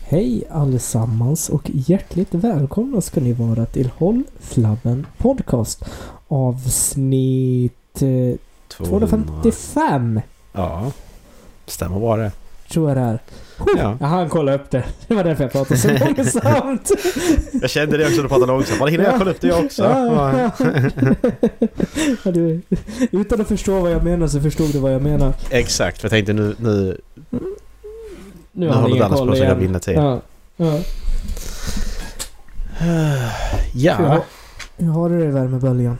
Hej allesammans och hjärtligt välkomna ska ni vara till Håll Flabben Podcast avsnitt eh, 255 Ja, stämmer var det. tror jag det är. Ja. Ja, han kollade upp det. Det var därför jag pratade så långsamt. Jag kände det också när du pratade långsamt. Man hinner jag kolla upp det också. Ja. Ja. Ja, du, utan att förstå vad jag menar så förstod du vad jag menar. Exakt, för jag tänkte nu, nu, Nu nu har han håller ingen Dallas på koll att försöka igen. vinna tid. Ja, ja. Ja, Nu har du det i värmeböljan.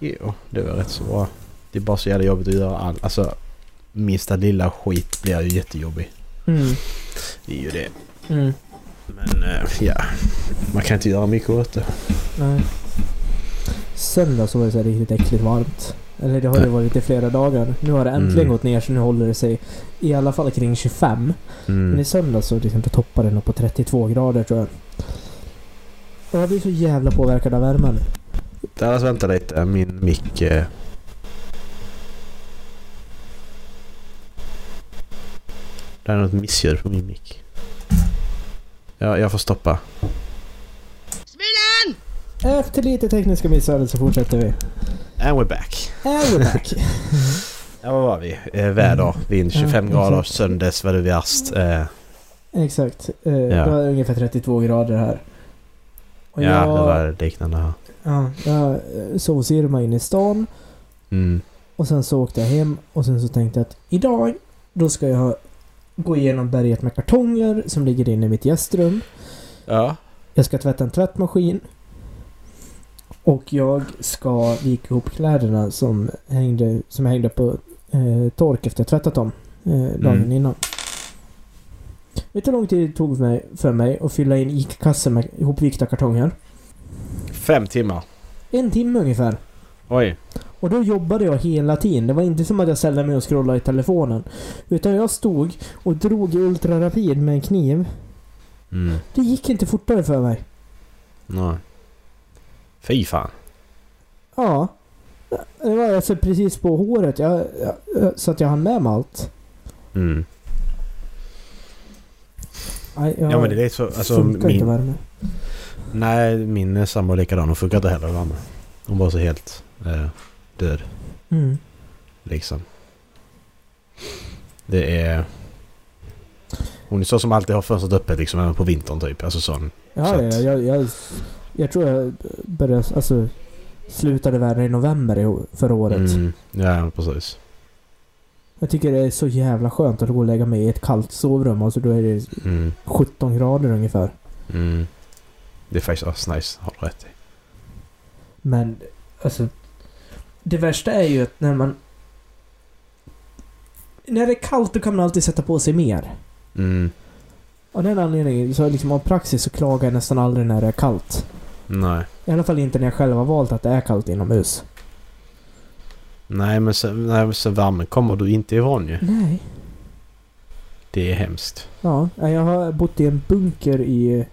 jo, det var rätt så bra. Det är bara så jävla jobbigt att göra allt. Alltså, minsta lilla skit blir ju jättejobbig. Mm. Det är ju det. Mm. Men eh, ja, man kan inte göra mycket åt det. Nej. Söndag så var det så här riktigt äckligt varmt. Eller det har ju varit i flera dagar. Nu har det äntligen Mm. gått ner så nu håller det sig i alla fall kring 25. Mm. Men i söndag så liksom det toppade den upp på 32 grader tror jag. Och jag blir så jävla påverkad av värmen. Dallas, alltså, vänta lite. Min mick... eh, Det är något missljud på min mick. Ja, jag får stoppa. Efter lite tekniska missöden så fortsätter vi. And we're back. And we're back. Ja, vad var vi? Eh, väder, vind, 25 Ja, grader, exakt. söndags, vad det värst. Eh, Exakt. Eh, Ja. Det var ungefär 32 grader här. ja, Och det jag, var liknande här. ja, jag eh, sov Sirma inne i stan. Mm. Och sen så åkte jag hem och sen så tänkte jag att idag, då ska jag gå igenom berget med kartonger som ligger inne i mitt gästrum. Ja. Jag ska tvätta en tvättmaskin. Och jag ska vika ihop kläderna som, hängde, som jag hängde på eh, tork efter jag tvättat dem eh, dagen Mm. innan. Vet du hur lång tid det tog för mig, för mig att fylla in ICA-kassen med ihopvikta kartonger? Fem timmar. En timme ungefär. Oj. Och då jobbade jag hela tiden. Det var inte som att jag ställde mig och scrollade i telefonen. Utan jag stod och drog i ultrarapid med en kniv. Mm. Det gick inte fortare för mig. Nej. Fy fan. Ja. Det var alltså precis på håret. Jag, jag, jag- så att jag hann med mig allt. Mm. Nej, jag, Ja, men det är så... Alltså, funkar min, inte värme. Nej, min sambo är likadan. Hon funkar inte heller den andra. Hon var så helt eh, död Mm. liksom. Det är... Hon är så som alltid har fönstret öppet liksom även på vintern typ. Alltså sån. Så Ja, att- ja, jag, jag, jag tror jag började... Alltså, slutade värre i november i år- förra året. Mm, ja, precis. Jag tycker det är så jävla skönt att gå och lägga mig i ett kallt sovrum. Alltså då är det Mm, 17 grader ungefär. mm. Det är faktiskt asnice, har du rätt i. Men alltså. Det värsta är ju att när man... När det är kallt då kan man alltid sätta på sig mer. Mm, Av den anledningen, så liksom av praxis, så klagar jag nästan aldrig när det är kallt. nej. I alla fall inte när jag själv har valt att det är kallt inomhus. Nej men, sen, nej, men sen värmen kommer du inte ifrån ju. Nej. Det är hemskt. Ja, nej, jag har bott i en bunker i eh,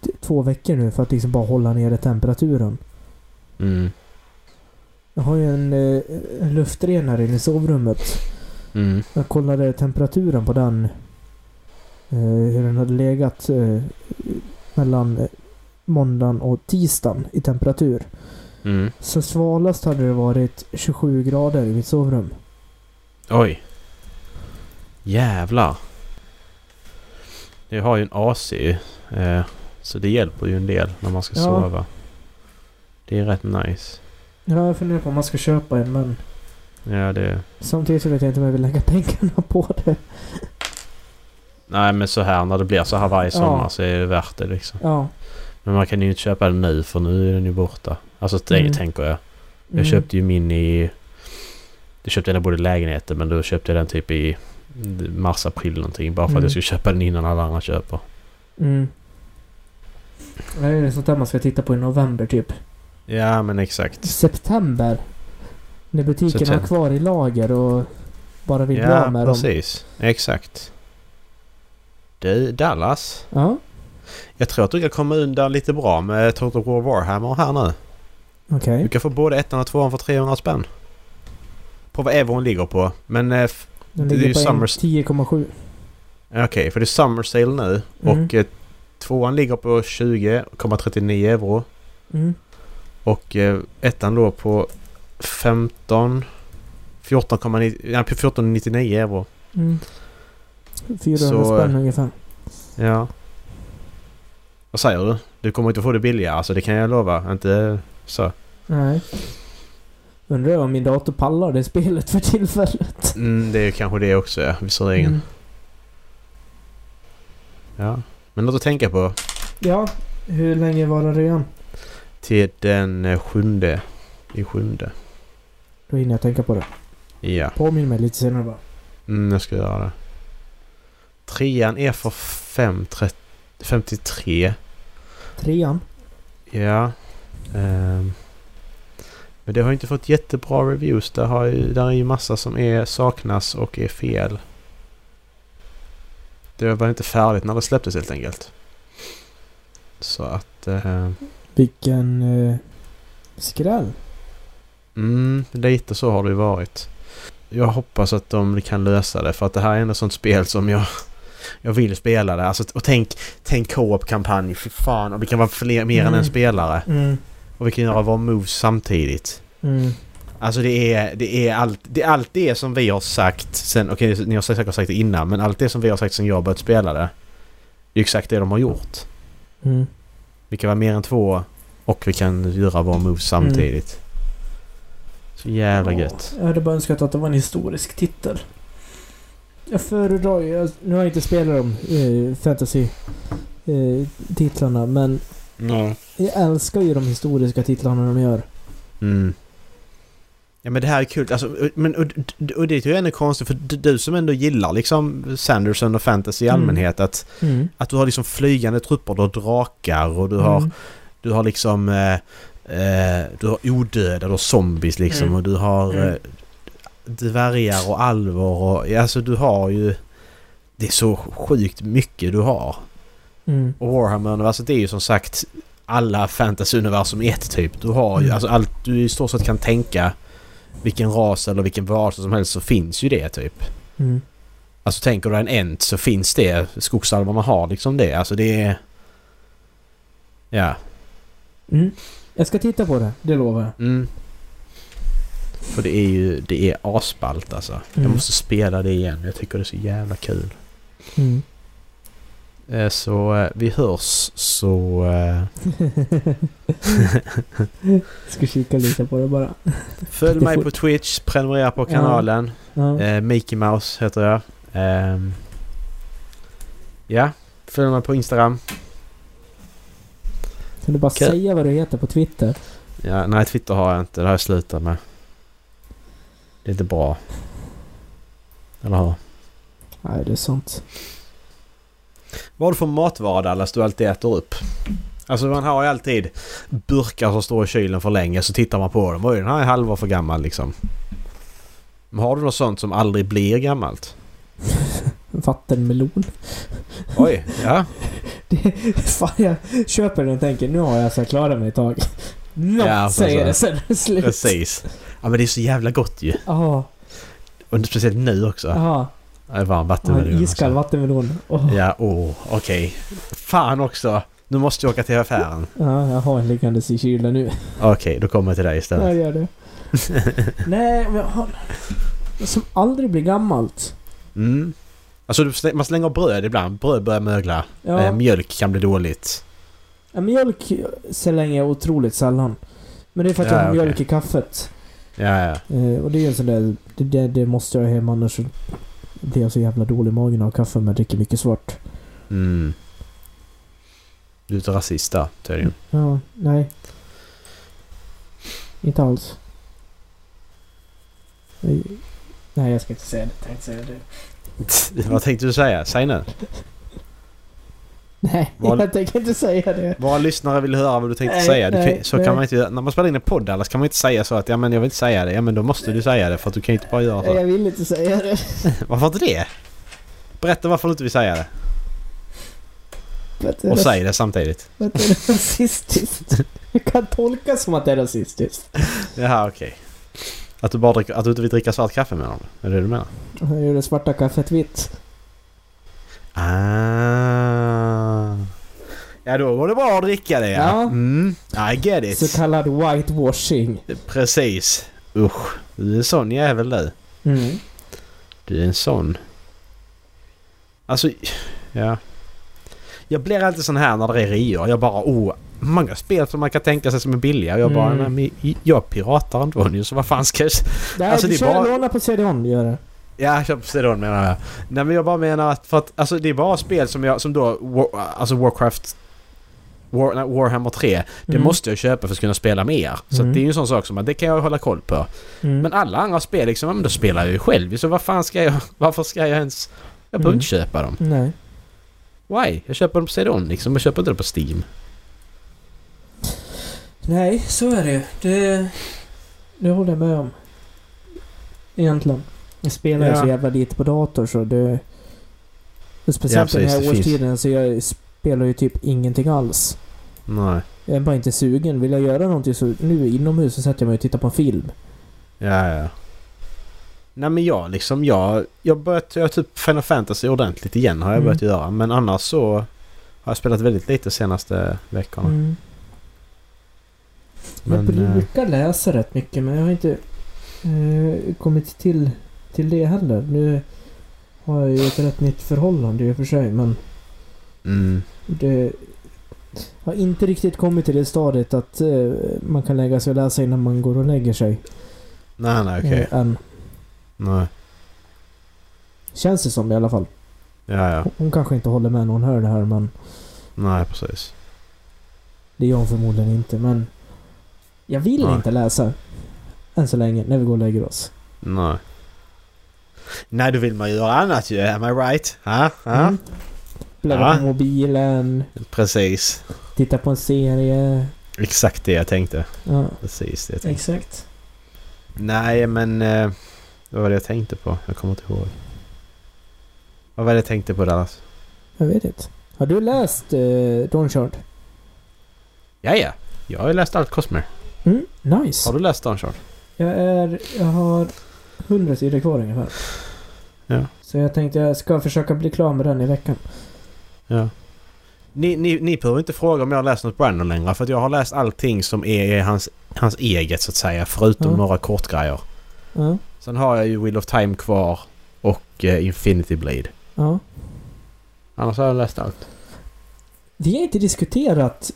t- två veckor nu för att liksom bara hålla nere temperaturen. Mm, Jag har ju en, eh, en luftrenare inne i sovrummet. mm, Jag kollade temperaturen på den. Eh, hur den hade legat eh, mellan eh, måndagen och tisdagen i temperatur. mm. Så svalast hade det varit 27 grader i mitt sovrum. Oj. Jävlar. Det har ju en AC ju, eh, Så det hjälper ju en del när man ska Ja. sova. Det är rätt nice. Ja, jag funderar på om man ska köpa en men Ja det... samtidigt så vet jag inte om jag vill lägga pengarna på det. Nej men så här när det blir så här varje Ja. sommar så är det värt det liksom. Ja. Men man kan ju inte köpa den nu för nu är den ju borta. Alltså det Mm. tänker jag. Jag Mm. köpte ju min i... Jag köpte den i både lägenheten men då köpte jag den typ i mars, april någonting. Bara för Mm. att jag skulle köpa den innan alla andra köper. Mm. Det är sånt där man ska titta på i november typ. Ja men exakt. September. När butikerna har September. kvar i lager och bara vill bli Ja, av med dem. precis. Exakt. Du, Dallas. Ja, Jag tror att du kan komma undan lite bra med Total War Warhammer här nu. okej. Du kan få både ettan och tvåan för 300 spänn. På vad Evon ligger på. Men eh, f- Den Det är ligger ju på en Summers- 10,7. Okej, för det är summer sale nu Mm. och eh, tvåan ligger på 20,39 euro Mm. och eh, ettan då på 15... 14,99 nej, på 14,99 euro. Mm. 400 Så, eh, spänn ungefär. Ja. Vad säger du? Du kommer inte få det billigare, alltså det kan jag lova. Inte så. Nej. Undrar om min dator pallar det spelet för tillfället. Mm, det är ju kanske det också ja, visserligen. Mm. Ja. Men något att tänka på Ja, hur länge var den redan? till den eh, sjunde i sjunde. Då hinner jag tänka på det. Ja. Påminn mig lite senare bara. Mm, jag ska göra det. Trean är för 5, 30, 53. Trean? Ja. Ehm. Men det har ju inte fått jättebra reviews. Där, har ju, där är ju massa som är, saknas och är fel. Det var inte färdigt när det släpptes helt enkelt. Så att... ehm, Vilken eh, skräll. Mm, lite så har det ju varit. Jag hoppas att de kan lösa det för att det här är ändå sånt spel som jag... Jag vill spela det. Alltså, och tänk, tänk co-op-kampanj. Fy fan. Och vi kan vara fler, mer än Mm. en spelare. Mm. Och vi kan göra våra moves samtidigt. Mm. Alltså det är, det är allt det, är allt det som vi har sagt sen... Okej, ni har säkert sagt det innan. Men allt det som vi har sagt sen jag började spela det. Det är ju exakt det de har gjort. Mm. Vi kan vara mer än två och vi kan göra våra moves samtidigt. Så jävla gött. Ja, Jag hade bara önskat att det var en historisk titel. Jag föredrar ju... jag- Nu har jag inte spelat de eh, fantasy-titlarna, men Ja. jag älskar ju de historiska titlarna de gör. Mm. Ja men det här är kul. Alltså, och- men, och, och- och det är ju ändå konstigt för du- du som ändå gillar liksom Sanderson och fantasy i Mm. allmänhet att, Mm. att du har liksom flygande trupper, du har drakar och du har, Mm. du har liksom eh, eh, du har odöda, du har zombies liksom Mm. och du har Mm. eh, dvärgar och alvor och ja, alltså du har ju det är så sjukt mycket du har. Mm. Och Warhammer-universet är ju som sagt alla fantasy-universum i ett typ. Du har ju Mm. alltså allt du i stort sett kan tänka vilken ras eller vilken varelse som helst så finns ju det typ. Mm. Alltså tänker du en ent så finns det. Skogsalverna har liksom det. Alltså det är... Ja. Mm. Jag ska titta på det, det lovar jag. Mm. För det är ju... Det är asballt alltså. Jag Mm. måste spela det igen. Jag tycker det är så jävla kul. Mm. Eh, Så eh, vi hörs så... eh, ska kika lite på det bara. Följ Det mig får- på Twitch, prenumerera på Ja. kanalen. Ja. Eh, Mickey Mouse heter jag. Ehm, ja, följ mig på Instagram. Kan du bara Okej. säga vad du heter på Twitter? Ja, nej, Twitter har jag inte. Det har jag slutat med. Det är inte bra. Eller hur? Nej, det är sånt. Vad har du för matvara Dallas du alltid äter upp? Alltså man har ju alltid burkar som står i kylen för länge så tittar man på dem. Oj, den här är halva för gammal liksom. Men har du något sånt som aldrig blir gammalt? Vattenmelon. Oj, ja. Det, fan, jag köper den och tänker nu har jag så här klarat mig ett tag. Något Ja, säger det sen är det slut. Precis. Ja men det är så jävla gott ju. Ja, Och speciellt nu också. ja. Ja, Det var ja en vattenmelon. en iskall alltså. vattenmelon. Åh. Ja, åh, oh, okej. Fan också! Nu måste jag åka till affären. Ja, jag har en liggandes i kylen nu. Okej, då kommer jag till dig Ja, istället. jag gör det. Nej, men jag har... Som aldrig blir gammalt. Mm. Alltså du slä- man slänger bröd ibland. Bröd börjar mögla. Ja. Eh, mjölk kan bli dåligt. Ja, mjölk slänger jag otroligt sällan. Men det är för att Ja, jag har okej. mjölk i kaffet. Ja, ja. Eh, och det är en sån där... Det, det, det måste jag ha hemma annars så blir jag så jävla dålig i magen av kaffe men jag dricker mycket svart. Mm. Du är inte rasist där, tydligen. Ja, nej. Inte alls. Nej, nej, jag ska inte säga det. Jag tänkte säga det. Vad tänkte du säga? Säg nu. Nej, Vad- jag tänker inte säga det. Våra lyssnare vill höra vad du tänkte Nej, säga. Du kan, nej, så nej. kan man inte göra. När man spelar in en podd Dallas kan man inte säga så att ja men jag vill inte säga det. Ja men då måste du säga det för att du kan ju inte bara göra Jag så. vill inte säga det. Varför inte det? Berätta varför du inte vill säga det. Vänta, Och ras- säg det samtidigt. vänta, det är rasistiskt. Det kan tolkas som att det är rasistiskt. Jaha, okej. Att, du bara dricker, att du inte vill dricka svart kaffe med dem? Är det det du menar? Jag gör det svarta kaffet vitt. Ah. Ja, då går det bra att dricka det ja. Ja. Mm. I get it. Så kallad whitewashing. Precis. Usch. Du är en sån jävel du. Mm. Du är en sån. Alltså, ja. Jag blir alltid sån här när det är reor. Jag bara oh, många spel som man kan tänka sig som är billiga. Jag bara Mm. nej, men jag piratar inte nu så vad fan ska jag... Nej, Alltså, vi det är kör bara- låna på CD-ON, gör det. Ja, jag köper Sedon menar jag. Nej men jag bara menar att för att alltså det är bara spel som jag som då War, alltså Warcraft War, nej, Warhammer 3. Det Mm. måste jag köpa för att kunna spela med er. Så Mm. att det är ju en sån sak som att det kan jag hålla koll på. Mm. Men alla andra spel liksom, ja, men då spelar jag ju själv. Så vad fan ska jag, varför ska jag ens... Jag behöver Mm. inte köpa dem. Nej. Why? Jag köper dem på CD-ON liksom. Jag köper inte dem på Steam. Nej, så är det ju. Det, det håller jag med om. Egentligen. Jag spelar ju Ja. så jävla lite på dator så det... Speciellt Ja, den precis, här det finns. årstiden så jag spelar ju typ ingenting alls. Nej. Jag är bara inte sugen. Vill jag göra någonting så nu inomhus så sätter jag mig och tittar på en film. Ja, ja. Nej men jag liksom, jag, jag börjat, jag har typ Final Fantasy ordentligt igen har jag Mm. börjat göra. Men annars så har jag spelat väldigt lite senaste veckorna. Mm. Jag Men, eh, brukar läsa rätt mycket men jag har inte eh, kommit till, till det heller. Nu har jag ju ett rätt nytt förhållande i och för sig men mm, det har inte riktigt kommit till det stadiet att eh, man kan lägga sig och läsa innan man går och lägger sig. nej, nej okej. Eh, än. Nej. Känns det som i alla fall. Ja, ja. Hon kanske inte håller med när hon hör det här men Nej, precis. det gör hon förmodligen inte men jag vill Nej. inte läsa. Än så länge när vi går och lägger oss. Nej. Nej, då vill man ju göra annat ju. Am I right? Ha? Ha? Mm. Bläddra Ja. på mobilen, Precis. titta på en serie. Exakt det jag tänkte. Ja, Precis det jag tänkte. exakt. Nej, men... Eh, vad var det jag tänkte på? Jag kommer inte ihåg. Vad var det jag tänkte på Dallas? Jag vet inte. Har du läst eh, Dawn Shard? Ja, ja. Jag har ju läst allt Cosmere. Mm, nice. Har du läst Dawnshard? Jag är... Jag har hundra sidor kvar ungefär. Ja. Så jag tänkte jag ska försöka bli klar med den i veckan. Ja. Ni, ni, ni behöver inte fråga om jag har läst något Brandon längre för att jag har läst allting som är hans, hans eget så att säga förutom Ja. några kortgrejer. Ja. Sen har jag ju Wheel of Time kvar och eh, Infinity Blade. ja. Annars har jag läst allt. Vi har inte diskuterat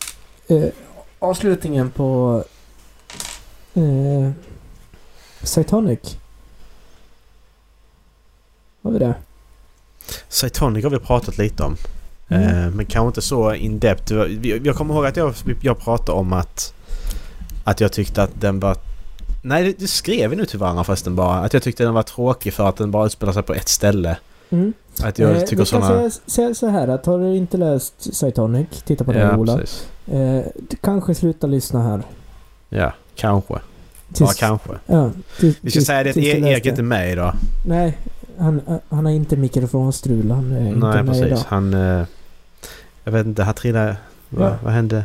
eh, avslutningen på... Eh, Cytonic. Har vi det? Cytonic har vi pratat lite om. Mm. Eh, men kanske inte så in depth. Vi- Jag kommer ihåg att jag, jag pratade om att, att jag tyckte att den var... Nej, det, det skrev vi nu till varandra förresten bara. Att jag tyckte den var tråkig för att den bara utspelar sig på ett ställe. Mm. Att jag Eh, tycker vi kan sådana... säga, säga så här att har du inte läst Cytonic, titta på den ja, Ola. precis. Eh, du kanske sluta lyssna här. Ja, kanske. Ja, kanske. ja, tills- Vi ska tills- säga det att E- tills du läst Erik är inte med idag. Nej, han, han har inte mikrofonstrul. Han är inte Nej, med precis. idag. Han... eh, Jag vet inte, han trillade... Vad, Ja. vad hände?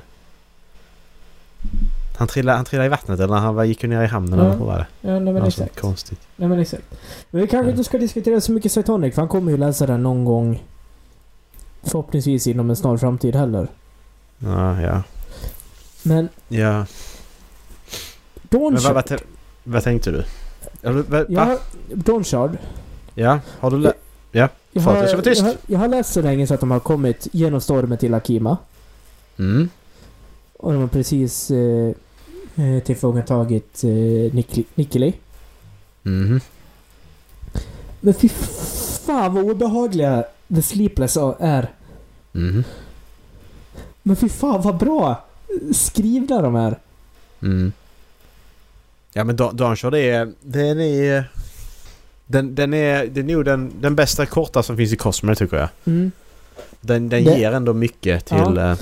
Han trillade, han trillade i vattnet eller han var, gick ju ner i hamnen Ja, eller vad var det? Ja, nej, men Något sånt exakt. Alltså, konstigt. nej men exakt. Men vi kanske Ja. inte ska diskutera så mycket Cytonic för han kommer ju läsa den någon gång. Förhoppningsvis inom en snar framtid heller. Ja, ja. Men ja. Dawn Men vad, vad, Shard. tän- vad tänkte du? Ja, du- vad- Jag va? har, Dawn Shard. ja, har du lä- Jag Förlåt, har, jag ska vara jag, tyst. har, jag har läst så länge så att de har kommit genom stormen till Akima. mm. Och de har precis eh, eh, tillfångatagit eh, Nik- Nikkeli. Mhm. Men fy fan vad obehagliga The Sleepless är. Mhm. Men fy fan vad bra skrivna de är. Mm. Ja men Dan- Danshard är... Den är... Den, den är, det är nog den, den bästa korta som finns i Cosmere tycker jag. Mm. Den, den Det- ger ändå mycket till... Ja. eh,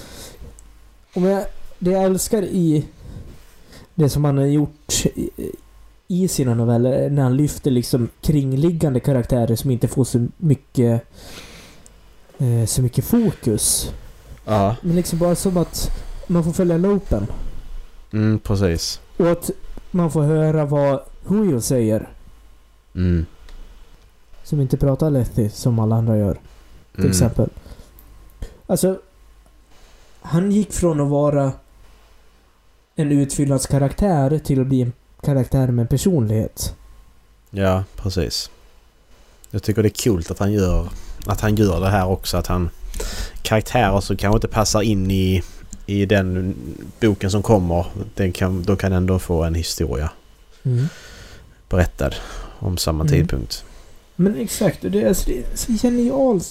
Och men, det jag älskar i det som han har gjort i- i sina noveller är när han lyfter liksom kringliggande karaktärer som inte får så mycket eh, så mycket fokus. Ja. Men liksom bara som att man får följa lopen. Mm, precis. Och att man får höra vad Huyo säger. Mm. Som inte pratar Lethy som alla andra gör. till Mm. exempel. Alltså, han gick från att vara en utfyllnadskaraktär till att bli en karaktär med en personlighet. Ja, precis. Jag tycker det är kul att han gör, att han gör det här också. Att han... Karaktärer som kanske inte passar in i, i den boken som kommer. Den kan, de kan ändå få en historia berättad om samma Mm. tidpunkt. Men exakt, och det är så- det är ett så genialt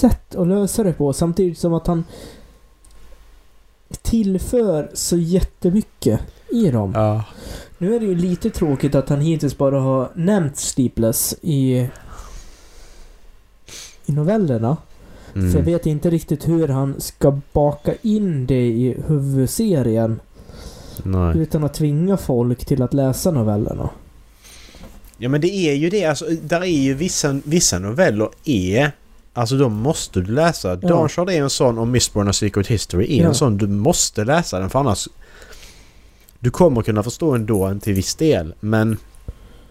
sätt att lösa det på samtidigt som att han tillför så jättemycket i dem. Ja. Nu är det ju lite tråkigt att han hittills bara har nämnt Steepless i, i novellerna. Mm. För jag vet inte riktigt hur han ska baka in det i huvudserien Nej. utan att tvinga folk till att läsa novellerna. Ja men det är ju det. Alltså, där är ju vissa, vissa noveller är... Alltså de måste du läsa. Ja. Ja. Dawn Shard är en sån och Mistborn och Secret History är Ja. en sån. Du måste läsa den för annars... Du kommer kunna förstå ändå en till viss del men...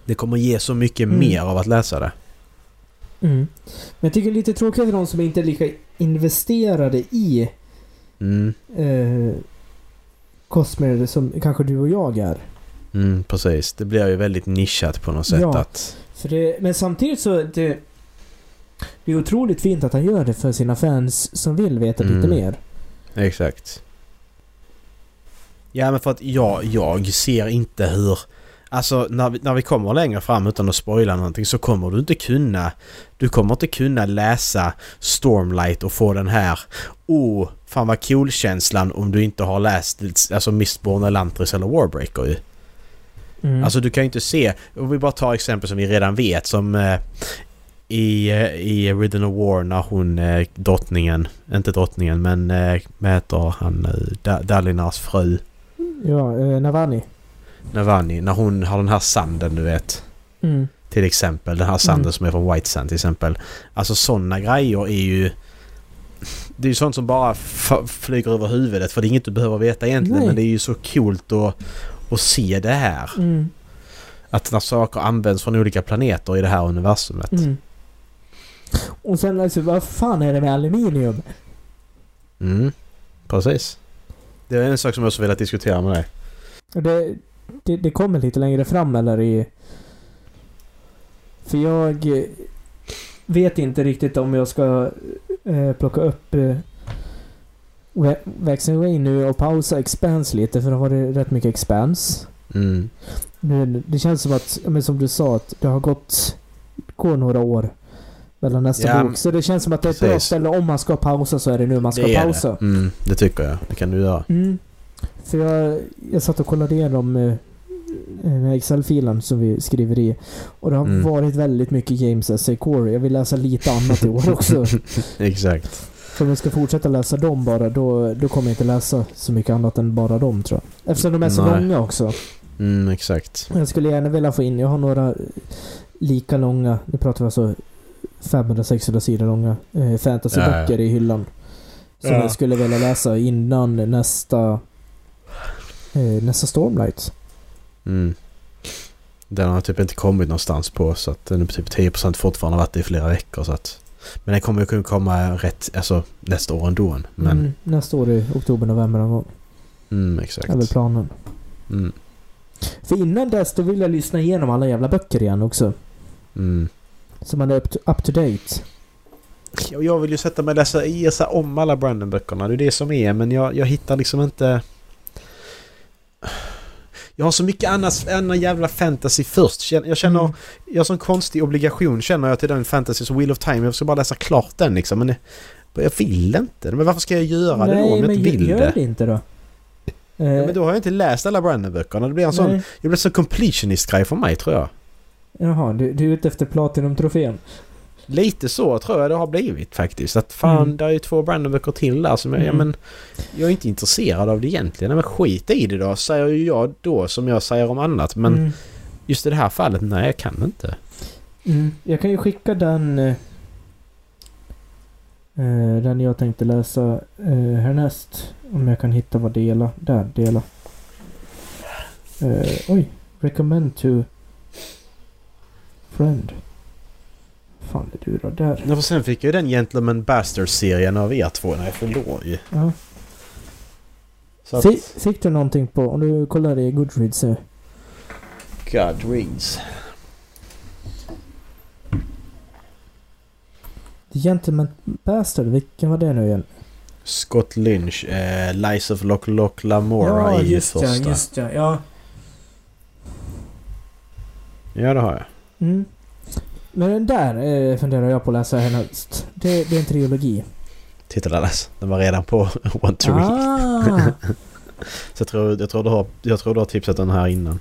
Det kommer ge så mycket Mm. mer av att läsa det. Mm. Men jag tycker det är lite tråkigt för de som inte är lika investerade i Mm, eh, Cosmere som kanske du och jag är. mm precis. Det blir ju väldigt nischat på något sätt Ja. att... För det, men samtidigt så... Det, det är otroligt fint att han gör det för sina fans som vill veta lite Mm. mer. Exakt. Ja men för att jag, jag ser inte hur... Alltså när vi, när vi kommer längre fram utan att spoila någonting så kommer du inte kunna... Du kommer inte kunna läsa Stormlight och få den här... Åh, fan vad cool känslan om du inte har läst alltså Mistborn, Elantris eller Warbreaker ju. Mm. Alltså du kan ju inte se... Om vi bara tar exempel som vi redan vet som... Eh, i, eh, I Ridden of War när hon eh, drottningen, inte drottningen men eh, vad heter han nu? Da- Dalinars fru ja, eh, Navani. Navani när hon har den här sanden du vet. Mm. Till exempel den här sanden Mm. som är från White Sand till exempel. Alltså sådana grejer är ju... Det är ju sånt som bara f- flyger över huvudet för det är inget du behöver veta egentligen Nej. men det är ju så kul att, att se det här. Mm. Att när saker används från olika planeter i det här universumet. Mm. Och sen alltså, vad fan är det med aluminium? Mm, precis. Det är en sak som jag också velat diskutera med dig. Och Det, det, det kommer lite längre fram eller i... För jag eh, vet inte riktigt om jag ska eh, plocka upp eh, Wa- Wax and Wayne nu och pausa Expanse lite för det har varit rätt mycket Expanse. Mm. Nu, det känns som att, ja, men som du sa, att det har gått går några år mellan nästa Ja, bok. Så det känns som att det är ett bra precis. ställe. Om man ska pausa så är det nu man ska det är pausa. det. Mm, det tycker jag. Det kan du göra. Mm. För jag, jag satt och kollade igenom eh, den här Excel-filen som vi skriver i. Och det har Mm. varit väldigt mycket James S. A. Corey. Jag vill läsa lite annat i år också. Exakt. För om jag ska fortsätta läsa dem bara, då, då kommer jag inte läsa så mycket annat än bara dem tror jag. Eftersom de är så Nej. långa också. Mm, exakt. Jag skulle gärna vilja få in, jag har några eh, lika långa, nu pratar vi alltså 500-600 sidor långa eh, fantasyböcker i hyllan. Som Ja. jag skulle vilja läsa innan nästa eh, nästa Stormlight. Mm. Den har typ inte kommit någonstans på så att den är typ 10% fortfarande varit i flera veckor så att... Men den kommer ju kunna komma rätt, alltså nästa år ändå. Men... Mm, Mm, nästa år i oktober, november någon gång. exakt. är väl planen. Mm, För innan dess då vill jag lyssna igenom alla jävla böcker igen också. mm. Så man är up to, up to date. Jag- Jag vill ju sätta mig och läsa, läsa om alla Brandon-böckerna. Det är det som är. Men jag, jag hittar liksom inte... Jag har så mycket annars, annan jävla fantasy först. Kän- Jag känner... Mm. Jag har sån konstig obligation känner jag till den fantasy. Så Wheel of Time. Jag ska bara läsa klart den liksom. Men det- jag vill inte. Men varför ska jag göra det då om jag men inte gö- vill gör det? det inte då. Eh, Ja, men då har jag inte läst alla Brandon-böckerna. Det blir en sån... nej. Det blir en sån completionist-grej för mig tror jag. Jaha, du, du är ute efter Platinum-trofén. Lite så tror jag det har blivit faktiskt. Att fan, Mm. det är ju två Brandon-böcker till där som jag... Ja, Mm. men jag är inte intresserad av det egentligen. Nej, Men skit i det då, säger ju jag då som jag säger om annat. Men Mm. just i det här fallet, nej jag kan inte. Mm. Jag kan ju skicka den... eh, eh, Den jag tänkte läsa eh, härnäst. Om jag kan hitta vad dela. Där, dela. Eh, oj! Recommend to friend. fan är du då? Där. Ja, för sen fick jag ju den Gentleman Bastards-serien av er två när jag fyllde år ju. Ja. Så att... Fick, fick du någonting på... Om du kollar i Goodreads eh, nu. God rings. The Gentleman Bastard, vilken var det nu igen? Scott Lynch, eh, Lies of Lock Lock Lamora är ju första. ja, just ja. ja. Ja, det har jag. Mm. Men den där eh, funderar jag på att läsa härnäst. Det, det är en trilogi. Titta Dallas, den var redan på One to Read. Ah, Så jag tror, jag, tror du har, jag tror du har tipsat den här innan.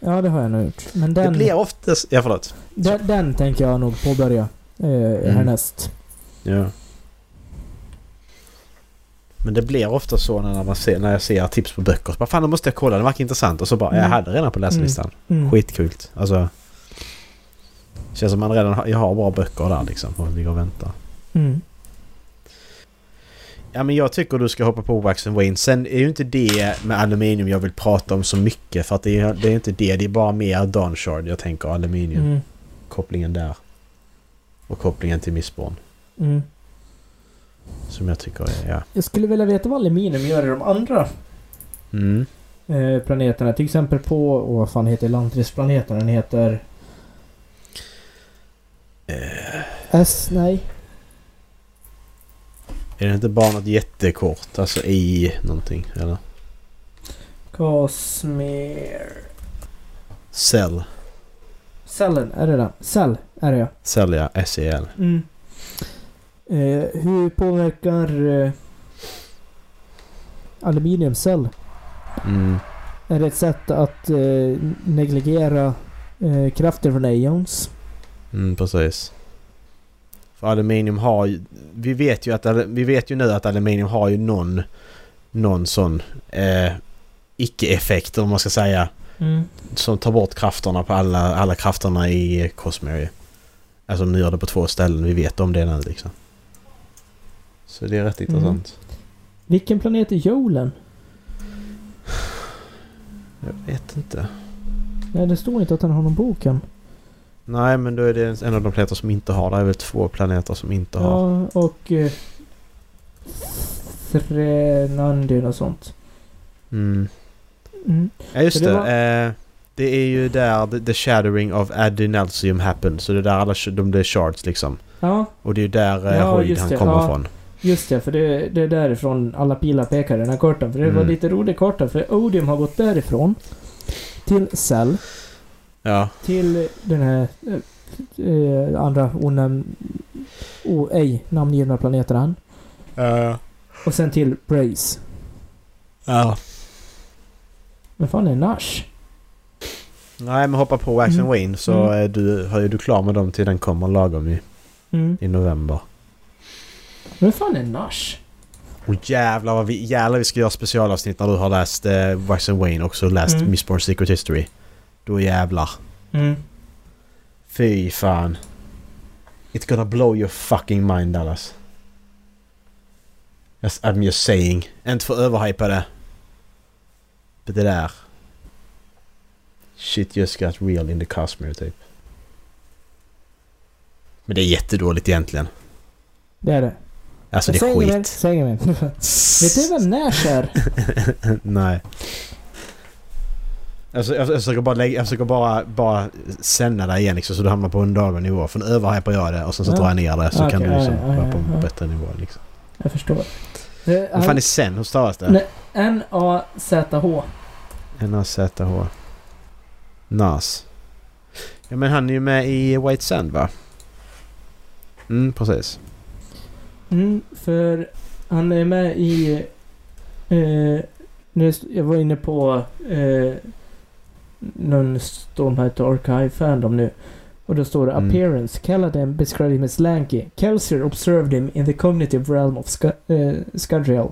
ja, det har jag nog gjort. Men Det den, blir oftast... Ja, förlåt. den, den tänker jag nog påbörja eh, härnäst. Ja. Men det blir ofta så när, man ser, när jag ser tips på böcker. Så bara, Fan, då måste jag kolla. Den verkar intressant. Och så bara, jag Mm. hade redan på läslistan. Mm. Skitkul. Alltså... Känns som man redan har, jag har bra böcker där liksom. Och ligger och väntar. Mm. Ja men jag tycker du ska hoppa på Wax and Wayne. Sen är ju inte det med aluminium jag vill prata om så mycket. För att det är, det är inte det. Det är bara mer Dawn Shard jag tänker aluminium. Mm. Kopplingen där. Och kopplingen till Missborn. Mm. Som jag tycker är... Ja. Jag skulle vilja veta vad aluminium gör i de andra Mm. eh, planeterna. Till exempel på... Åh, vad fan heter Lantris-planeten? Den heter... S? Nej. Är det inte bara något jättekort? Alltså i någonting eller? Cosmere... Cell. Cellen, är det den? Cell, är det ja. Cell ja. E S-E-L. Mm. Eh, hur påverkar eh, aluminiumcell? Mm. Är det ett sätt att eh, negligera eh, krafter från Aeons? Mm, precis. För aluminium har ju... Vi vet ju, att, alu- vi vet ju nu att aluminium har ju någon... Någon sån... Eh, icke-effekt om man ska säga. Mm. Som tar bort krafterna på alla, alla krafterna i Cosmere. Alltså de gör det på två ställen. Vi vet om det nu liksom. Så det är rätt Mm. intressant. Vilken planet är Jolen? Jag vet inte. Nej, det står inte att den har någon boken. Nej men då är det en av de planeter som inte har. Det är väl två planeter som inte har. Ja, och... Eh, Threnandyn och sånt. Mm. Mm. Ja just Så det det. Det, var- eh, det är ju där the, the shattering of adenalsium happened. Så det är där alla sh- de blir shards liksom. Ja, Och det är ju där eh, Ja, Hoyd just han det. kommer Ja. ifrån. Just det, för det, det är därifrån alla pilar pekar i den här kartan. För det var Mm. lite rolig karta, för Odium har gått därifrån till Cell, Ja. till den här eh, eh, andra onämn... O, ej namngivna planeten han. Eh, Uh. Och sen till Brace. Ja. Men fan är Nash? Nej men hoppa på Wax Mm. and Wayne så Mm. är du, har ju du klar med dem till den kommer lagom i, Mm. i november. Men fan är Nash? Och jävlar vad vi, jävlar vi ska göra specialavsnitt när du har läst eh, Wax and Wayne och så läst Mm. Missborn Secret History. Då jävlar. Mm. Fy fan. It's gonna blow your fucking mind Dallas. Yes, I'm just saying. Inte för överhypade. But det där. Shit just got real in the Cosmere typ. Men det är jättedåligt egentligen. Det är det. Alltså det är säg mer, skit. säg mer. Vet du vem Nash är? Nej. Alltså, jag, jag försöker bara, lägga, jag försöker bara, bara sända det igen liksom, så du hamnar på en daglig nivå. För nu överhypar jag det och sen så Ja. Ah, drar jag ner det så Okej, kan du ja, liksom ja, ja, vara på en ja. bättre nivå. Liksom. Jag förstår. Det Vad fan är är sen? Hur stavas det? Nej. N-A-Z-H. N-A-Z-H. Nas. Ja men han är ju med i White Sand va? Mm precis. Mm, för han är med i... Eh, nu, st- jag var inne på eh, någon Stormlight Archive Fandom nu. Och då står det Mm. Appearance. Caladan described him as lanky. Kelsier observed him in the cognitive realm of Sc- eh, Scudrial.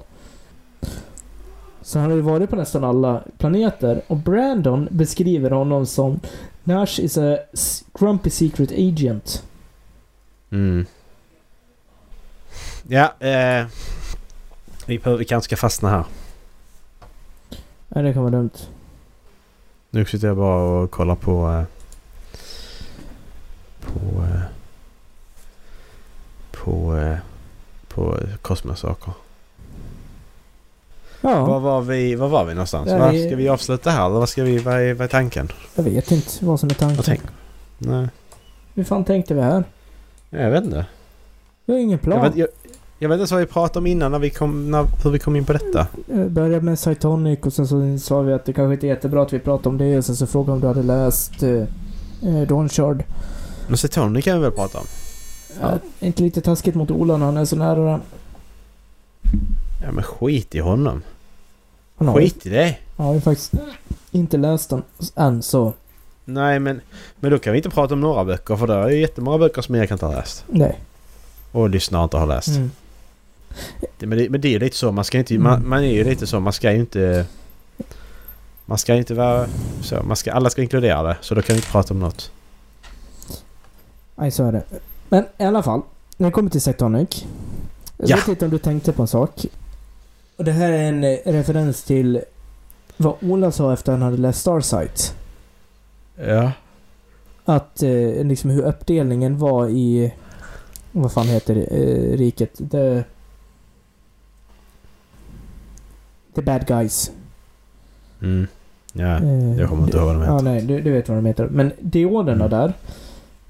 Så han har ju varit på nästan alla planeter. Och Brandon beskriver honom som Nash is a s- grumpy secret agent. Mm. Ja, eh, vi, behöver- vi kanske ska fastna här. Ja, det kan vara dumt. Nu sitter jag bara och kollar på... eh, På... eh, på, eh, på Cosmos-saker. Var, Ja, var vi, var var vi någonstans? Där Var, vi- ska vi avsluta här eller vad, ska vi, vad, är, vad är tanken? jag vet inte vad som är Vad tanken. tänk? Nej, Hur fan tänkte vi här? jag vet inte. Jag har ingen Jag plan. vet, jag, jag vet inte ens vad vi pratade om innan när vi kom, när, hur vi kom in på detta. Jag började Eh, med Cytonic och sen så sa vi att det kanske inte är jättebra att vi pratar om det. Och sen så frågade jag om du hade läst eh, eh, Dawnshard. Men Cetonic kan vi väl prata om? Ja. Äh, inte lite taskigt mot Ola när han är så nära den. Ja men skit i honom. Han har, Skit i det. Jag har ju faktiskt inte läst den än så. Nej men, men då kan vi inte prata om några böcker för det är ju jättemånga böcker som Erik inte har läst. Nej. Och lyssnare inte har läst. Mm. Det, men, det, men det är ju lite så. Man ska inte... Mm. Man, man är ju lite så. Man ska ju inte... Man ska ju inte vara... Så, man ska, alla ska inkludera det. Så då kan vi inte prata om något. Nej, så är det. Men i alla fall. När det kommer till Sectonic. Jag Ja. vet inte om du tänkte på en sak. Och det här är en eh, referens till vad Ola sa efter han hade läst Starsight. Ja. Att eh, liksom hur uppdelningen var i... Vad fan heter det? Eh, riket? The... The bad guys. Mm. Ja. Eh, Jag kommer inte ihåg vad de Ja, heter. nej, du, du vet vad de heter. Men dioderna Mm. där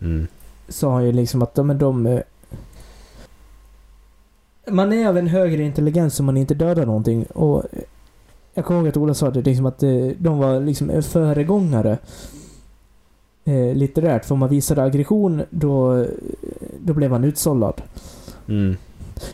Mm. sa han ju liksom att de, de... eh, Man är av en högre intelligens om man inte dödar någonting. Och eh, jag kommer ihåg att Ola sa det, liksom att eh, de var liksom eh, föregångare. Eh, litterärt, för om man visade aggression då, eh, då blev man utsållad. Mm.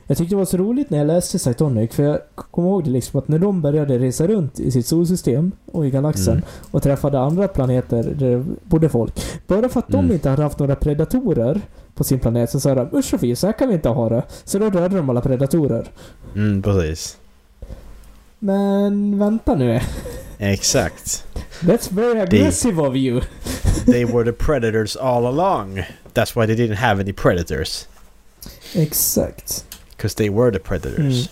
Jag tyckte det var så roligt när jag läste Cytonic, för jag kommer ihåg det liksom att när de började resa runt i sitt solsystem och i galaxen Mm. och träffade andra planeter där det bodde folk. Bara för att de Mm. inte hade haft några predatorer på sin planet så sa de usch och fy, så här kan vi inte ha det. Så då dödade de alla predatorer. Mm, precis. Men vänta nu. Exakt. That's very aggressive of you. They were the predators all along. That's why they didn't have any predators. Exakt. Because they were the predators.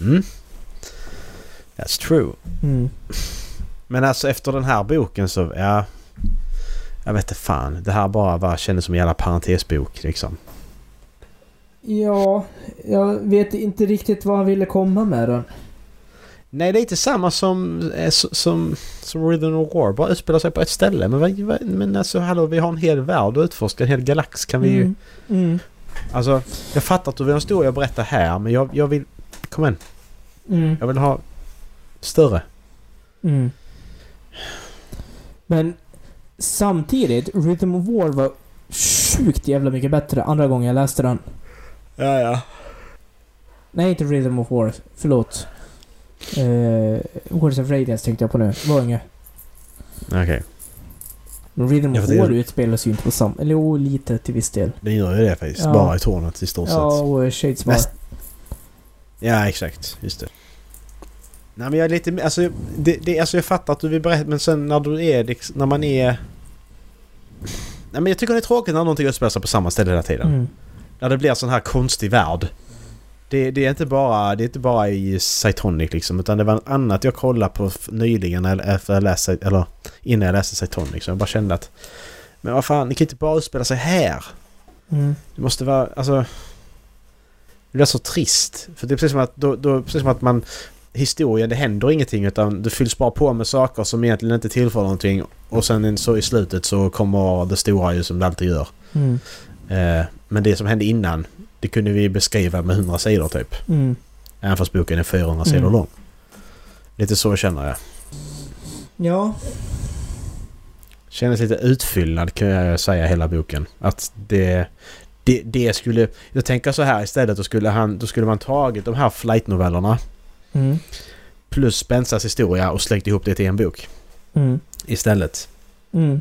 Mm. That's true. Mm. Men alltså efter den här boken så... Ja, jag vet inte fan. Det här bara, bara kändes som en jävla parentesbok liksom. Ja, jag vet inte riktigt vad han ville komma med den. Nej, det är inte samma som, eh, s- som, som Rhythm of War. Bara utspelar sig på ett ställe. Men, vad- vad- men alltså hallå, vi har en hel värld att utforska. En hel galax kan vi ju... Mm. Mm. Alltså, jag fattar att du vill ha en historia att berätta här. Men jag, jag vill... Kom igen. Mm. Jag vill ha större. Mm. Men samtidigt, Rhythm of War var sjukt jävla mycket bättre andra gången jag läste den. Ja, ja. Nej, inte Rhythm of War. Förlåt. Uh, Wars of Radiance tänkte jag på nu. Det var inget. Okej. Men Rhythm Ja, of för det- War utspelas ju inte på samma... Eller jo, lite till viss del. Den gör ju det faktiskt. Ja. Bara i tornet i stort sett. Ja, och eh, Shadesmar. Näst- Ja, exakt. Just det. Nej, men jag är lite... Alltså, det, det, alltså jag fattar att du vill berätta, men sen när du är... liksom- När man är... Nej, men jag tycker det är tråkigt när någonting utspelar sig på samma ställe hela tiden. Mm. När det blir sån här konstig värld. Det, det, är inte bara, det är inte bara i Cytonic liksom, utan det var något annat jag kollade på f- nyligen när jag, efter jag läste, eller innan jag läste Cytonic. Så jag bara kände att... Men vad fan, det kan inte bara utspela sig här. Mm. Det måste vara, alltså... Det blir så trist. För det är precis som att, då, då, precis som att man... Historien, det händer ingenting utan du fylls bara på med saker som egentligen inte tillför någonting. Och sen så i slutet så kommer det stora ju som det alltid gör. Mm. Eh, men det som hände innan, det kunde vi beskriva med 100 sidor typ. Mm. Även fast boken är 400 Mm. sidor lång. Lite så känner jag. Ja. Kändes lite utfyllnad kan jag säga hela boken. Att det... Det, det skulle... Jag tänker så här istället. Då skulle, han, då skulle man tagit de här flightnovellerna Mm. plus Bensas historia och slängt ihop det till en bok Mm. istället. Mm.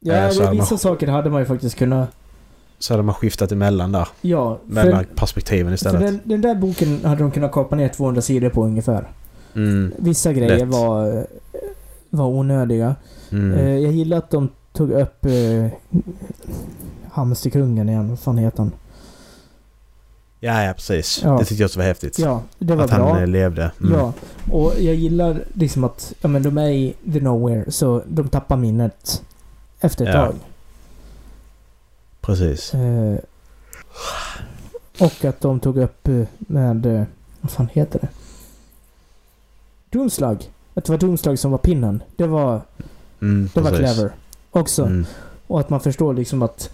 Ja, Eh, så det- här, man- vissa saker hade man ju faktiskt kunnat... Så hade man skiftat emellan där. Ja. Mellan perspektiven för istället. den, den där boken hade de kunnat kapa ner 200 sidor på ungefär. Mm, Vissa grejer Lätt. var, eh, var onödiga. mm. Eh, Jag gillar att de tog upp eh, Hamsterkungen igen. Vad fan heter han? ja, ja, precis. ja. Det tyckte jag också var häftigt. Ja, det var att bra. han eh, levde. Mm. Ja. Och jag gillar liksom att ja, men de är i the nowhere så de tappar minnet efter ett Ja. tag. Precis. Eh, Och att de tog upp eh, med... eh, Vad fan heter det? Domslag. Att det var domslag som var pinnen. Det var, Mm, det var precis. clever. Också. Mm. Och att man förstår liksom att...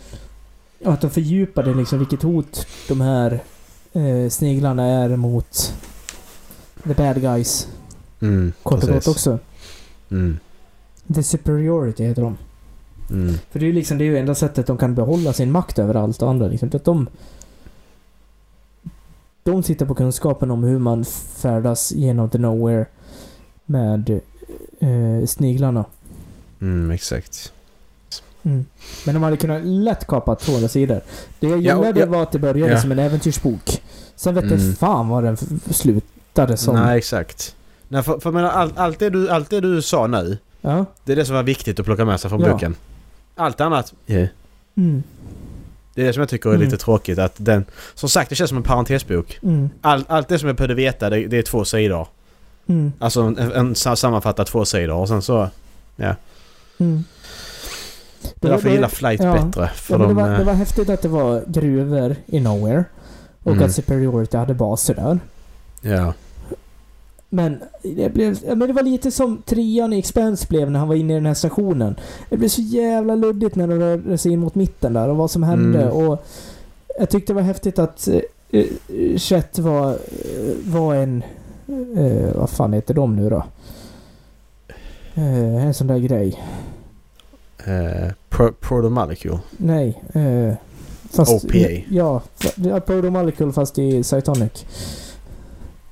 Att de fördjupade liksom vilket hot de här eh, sniglarna är mot the bad guys. Mm, Kort och gott precis. också. Mm. The superiority heter de. Mm. För det är ju liksom det är ju enda sättet de kan behålla sin makt över allt och andra liksom. Att de... De sitter på kunskapen om hur man färdas genom the nowhere med eh, sniglarna. Mm, exakt. Mm. Men de hade kunnat lätt kapa 200 sidor. Det jag Ja, och- gillade ja. var att det började Ja. som en äventyrsbok. Sen vet jag Mm. fan vad den f- slutade som. Nej, exakt. Nej, för, för jag menar, allt, allt, det du, allt det du sa nu, Ja. det är det som var viktigt att plocka med sig från Ja. boken. Allt annat, Mm. det är det som jag tycker är Mm. lite tråkigt att den... Som sagt, det känns som en parentesbok. Mm. Allt, allt det som jag behövde veta, det, det är två sidor. Mm. Alltså en, en sa- sammanfattad två sidor och sen så... Mm. Det är därför jag gillar Flight ja. bättre. För ja, men de... det, var, det eh, var häftigt att det var gruvor i Nowhere. Och Mm. att Superiority hade baser där. eh, Ja. Men det, blev, ja, men det var lite som trean i Expense blev när han var inne i den här stationen. Det blev så jävla luddigt när de rörde sig in mot mitten där och vad som hände. Mm. Och jag tyckte det var häftigt att eh, eh, Chet var, eh, var en... Eh, vad fan heter de nu då? Eh, en sån där grej. Eh, pro, protomolecule. Nej. Eh, fast, OPA. Ja, fa- ja, Protomolecule fast i Cytonic.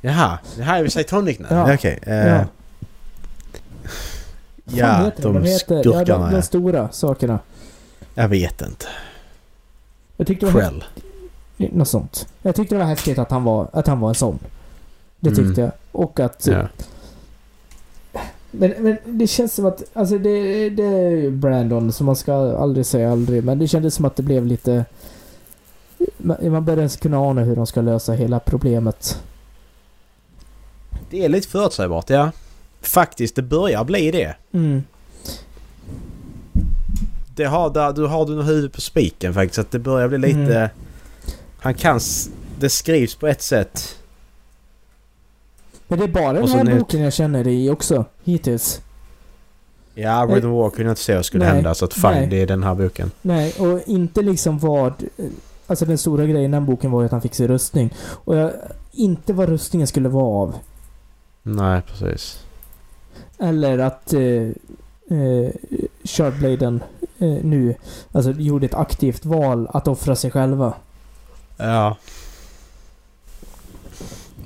Jaha, det här är vi Cytonic nu? Ja. Okej. eh, Ja. Vad fan ja, heter de heter- skurkarna. Ja, de, de ja. stora sakerna. Jag vet inte. Jag tyckte det var Krell. häftigt, något sånt. Jag tyckte det var häftigt att han var, att han var en sån. Det Mm. tyckte jag. Och att... Ja. Men, men det känns som att... Alltså det, det är ju Brandon, så man ska aldrig säga aldrig. Men det kändes som att det blev lite... Man man började kunna ana hur de ska lösa hela problemet. Det är lite förutsägbart, ja. Faktiskt, det börjar bli det. Mm. det har, där, du har du nog huvudet på spiken faktiskt. Att det börjar bli lite... Mm. Han kan... s- Det skrivs på ett sätt. Men det är bara den Och så här nu- boken jag känner det i också, hittills. Ja, Nej. Rhythm War kunde jag inte se vad skulle Nej. hända. Så att fine, Nej. det är den här boken. Nej, och inte liksom vad... Alltså den stora grejen i den boken var ju att han fick sin rustning. Och jag... Inte vad rustningen skulle vara av. Nej, precis. Eller att eh, eh, Shardbladen eh, nu alltså, gjorde ett aktivt val att offra sig själva. Ja.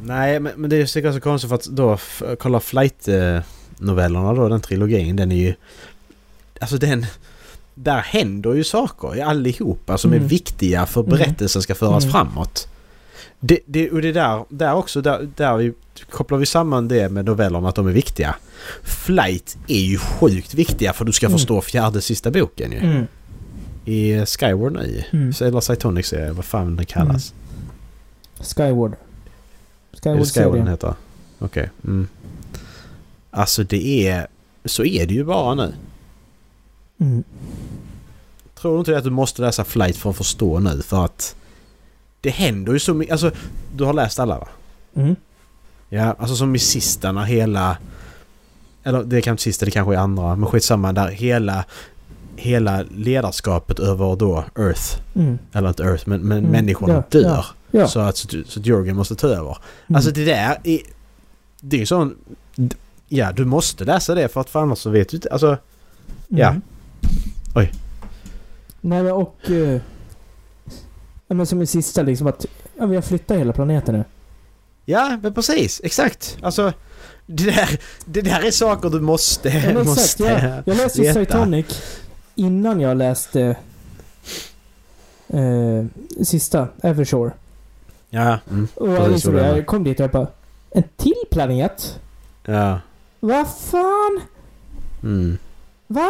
Nej, men, men det är säkert så konstigt för att då... f- Kolla Flight-novellerna då, den trilogin. Den är ju... Alltså den... Där händer ju saker i allihopa som Mm. är viktiga för Mm. berättelsen ska föras Mm. framåt. Det, det, och det där, där också, där, där vi, kopplar vi samman det med novellerna att de är viktiga. Flight är ju sjukt viktiga för du ska Mm. förstå fjärde sista boken ju. Mm. I Skyward nu. Mm. Eller Cytonic-serien, vad fan den kallas. Skyward. Är det Skyward den Skyward-serien. heter? Okej. Mm. Alltså det är... Så är det ju bara nu. Mm. Tror du inte att du måste läsa Flight för att förstå nu? För att... Det händer ju så mycket. Alltså, du har läst alla va? Mm. Ja, alltså som i sista när hela... Eller det är kanske inte sista, det kanske är andra. Men skitsamma. Där hela... Hela ledarskapet över då Earth. Mm. Eller inte Earth, men, men Mm, människorna ja, dör. ja, ja. Så, att, så att Jörgen måste ta över. Mm. Alltså det där är... Det är ju sån... d- Ja, du måste läsa det för att för annars så vet du inte... Alltså... ja. Oj. Mm. Nej men och... Eh, ja, men som i sista liksom att... Ja, vi har flyttat hela planeten nu. Ja, men precis. Exakt. Alltså... Det där, det där är saker du måste... Ja, men exakt, måste Jag läste ju veta. Titanic innan jag läste eh, sista, Evershore. Ja. Mm. Och jag, Precis, liksom, vad det är. jag kom dit och jag bara... En till planet? Ja. Vad fan? Mm. Va?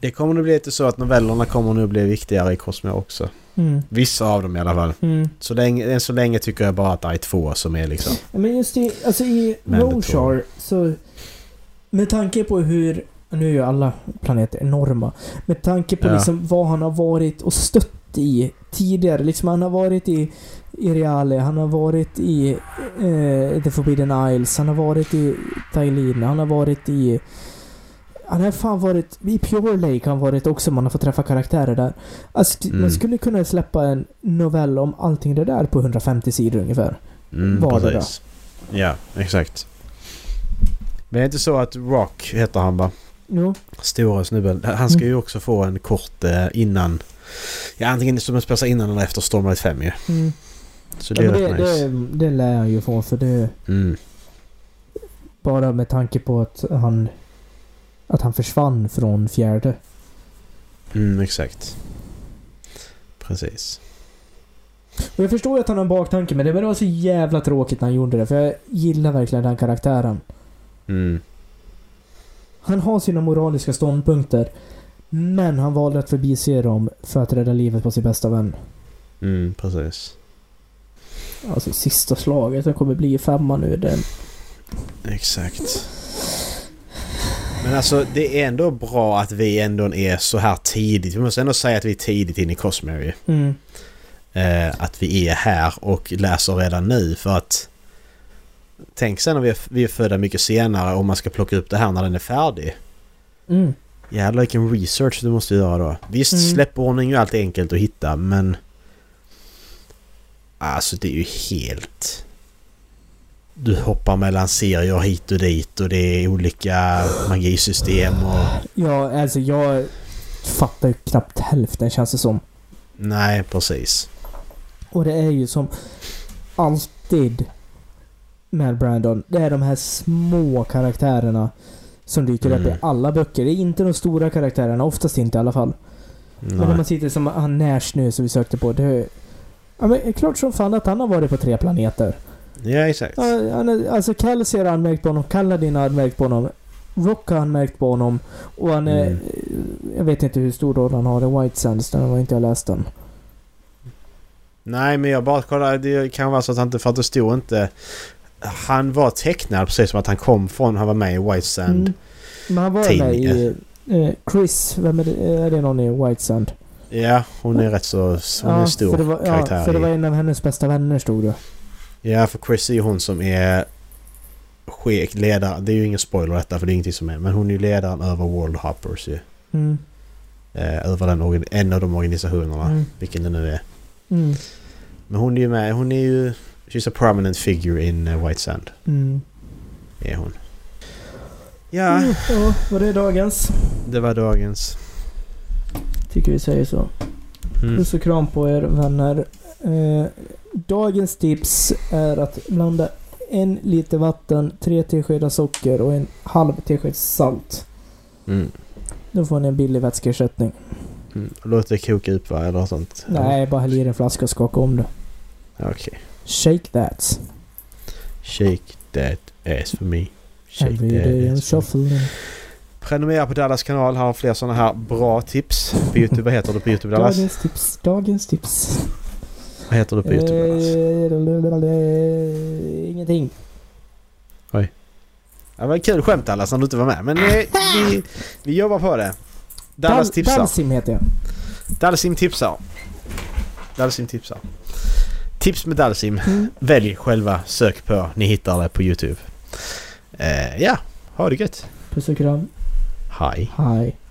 Det kommer nog bli lite så att novellerna kommer nog bli viktigare i Cosmo också. Mm, Vissa av dem i alla fall. mm. Så länge, än så länge tycker jag bara att det är två som är liksom... Men just i, alltså i Men det tror jag. Roshar så... Med tanke på hur... Nu är ju alla planeter enorma. Med tanke på Ja. liksom vad han har varit och stött i tidigare. Liksom, han har varit i, i Reale, han har varit i eh, The Forbidden Isles, han har varit i Tailin, han har varit i... Han har fan varit... I Pure Lake har han varit också, man har fått träffa karaktärer där. Alltså, Mm. Man skulle kunna släppa en novell om allting det där på 150 sidor ungefär. Mm, Var det precis. Ja, exakt. Men det är inte så att Rock heter han va? Jo. Stora snubben. Han Mm. ska ju också få en kort eh, innan. Ja, antingen som en special innan eller efter Stormlight 5 ju. Mm. Så Det, det ja, är men rätt det, nice. det, det lär han ju få för det... Mm. Bara med tanke på att han... Att han försvann från fjärde. Mm, exakt. Precis. Och jag förstår ju att han har en baktanke med det, men det var så jävla tråkigt när han gjorde det. För jag gillar verkligen den karaktären. Mm. Han har sina moraliska ståndpunkter. Men han valde att förbise dem för att rädda livet på sin bästa vän. Mm, precis. Alltså sista slaget som kommer bli i femman nu. Den. Exakt. Men alltså det är ändå bra att vi ändå är så här tidigt. Vi måste ändå säga att vi är tidigt in i Cosmary. Mm. eh, att vi är här och läser redan nu för att tänk sen om vi är, vi är födda mycket senare om man ska plocka upp det här när den är färdig. Mm. Jävlar vilken research du måste göra då. Visst, Mm. släppordning är ju alltid enkelt att hitta men alltså det är ju helt du hoppar mellan serier hit och dit och det är olika magisystem och... Ja, alltså jag fattar ju knappt hälften känns det som. Nej, precis. Och det är ju som alltid med Brandon. Det är de här små karaktärerna som dyker upp i Mm. alla böcker. Det är inte de stora karaktärerna, oftast inte i alla fall. Men om Nej. man sitter som han Nash nu som vi sökte på. Det är, ja, men det är klart som fan att han har varit på tre planeter. Ja, exakt. Ja, han är, alltså Kallus har anmärkt på honom, Kalladin har anmärkt på honom, Rock har anmärkt på honom och han är... Mm. Jag vet inte hur stor roll han har i White Sands, den har inte jag läst den. Nej, men jag bara kollar. Det kan vara så att han inte... För att det stod inte... Han var tecknad precis som att han kom från... Han var med i White Sand. Mm. Men han var med i... Eh, Chris, vem är det? Är det någon i White Sand? Ja, hon är rätt så... Hon är en stor för det var, ja, karaktär. för det var i. en av hennes bästa vänner stod det. Ja, för Chris är ju hon som är... Chef, ledare. Det är ju ingen spoiler detta för det är ingenting som är. Men hon är ju ledaren över World Hoppers ju. Mm. Eh, över den, organ- en av de organisationerna. Mm. Vilken det nu är. Mm. Men hon är ju med. Hon är ju... She's a prominent figure in eh, White Sand. Mm. Är hon. Ja, Mm, ja, var det dagens? det var dagens. Tycker vi säger så. Mm. Puss och kram på er vänner. Eh, dagens tips är att blanda en liter vatten, tre teskedar socker och en halv tesked salt. Mm. Då får ni en billig vätskeersättning. Mm. Låt det koka upp va? Eller något sånt? Nej, bara häll i en flaska och skaka om det. Ja, Okej. Shake that. Shake that ass for me. Shake Every day I'm that ass for me. shuffling. Prenumerera på Dallas kanal. Här har fler sådana här bra tips. På YouTube. Vad heter du på YouTube Dallas? Dagens tips. Dagens tips. Vad heter du på YouTube Dallas? Eh, Ingenting. Ja, det var ett kul skämt Dallas när du inte var med. Men eh, vi, vi jobbar på det. Dallas Dal- tipsar. Dalsim heter jag. Dalsim tipsar. Dalsim tipsar. Tips med Dalsim. Mm. Välj själva. Sök på. Ni hittar det på YouTube. Eh, ja, ha det gött. Puss och kram. Hej. Hej.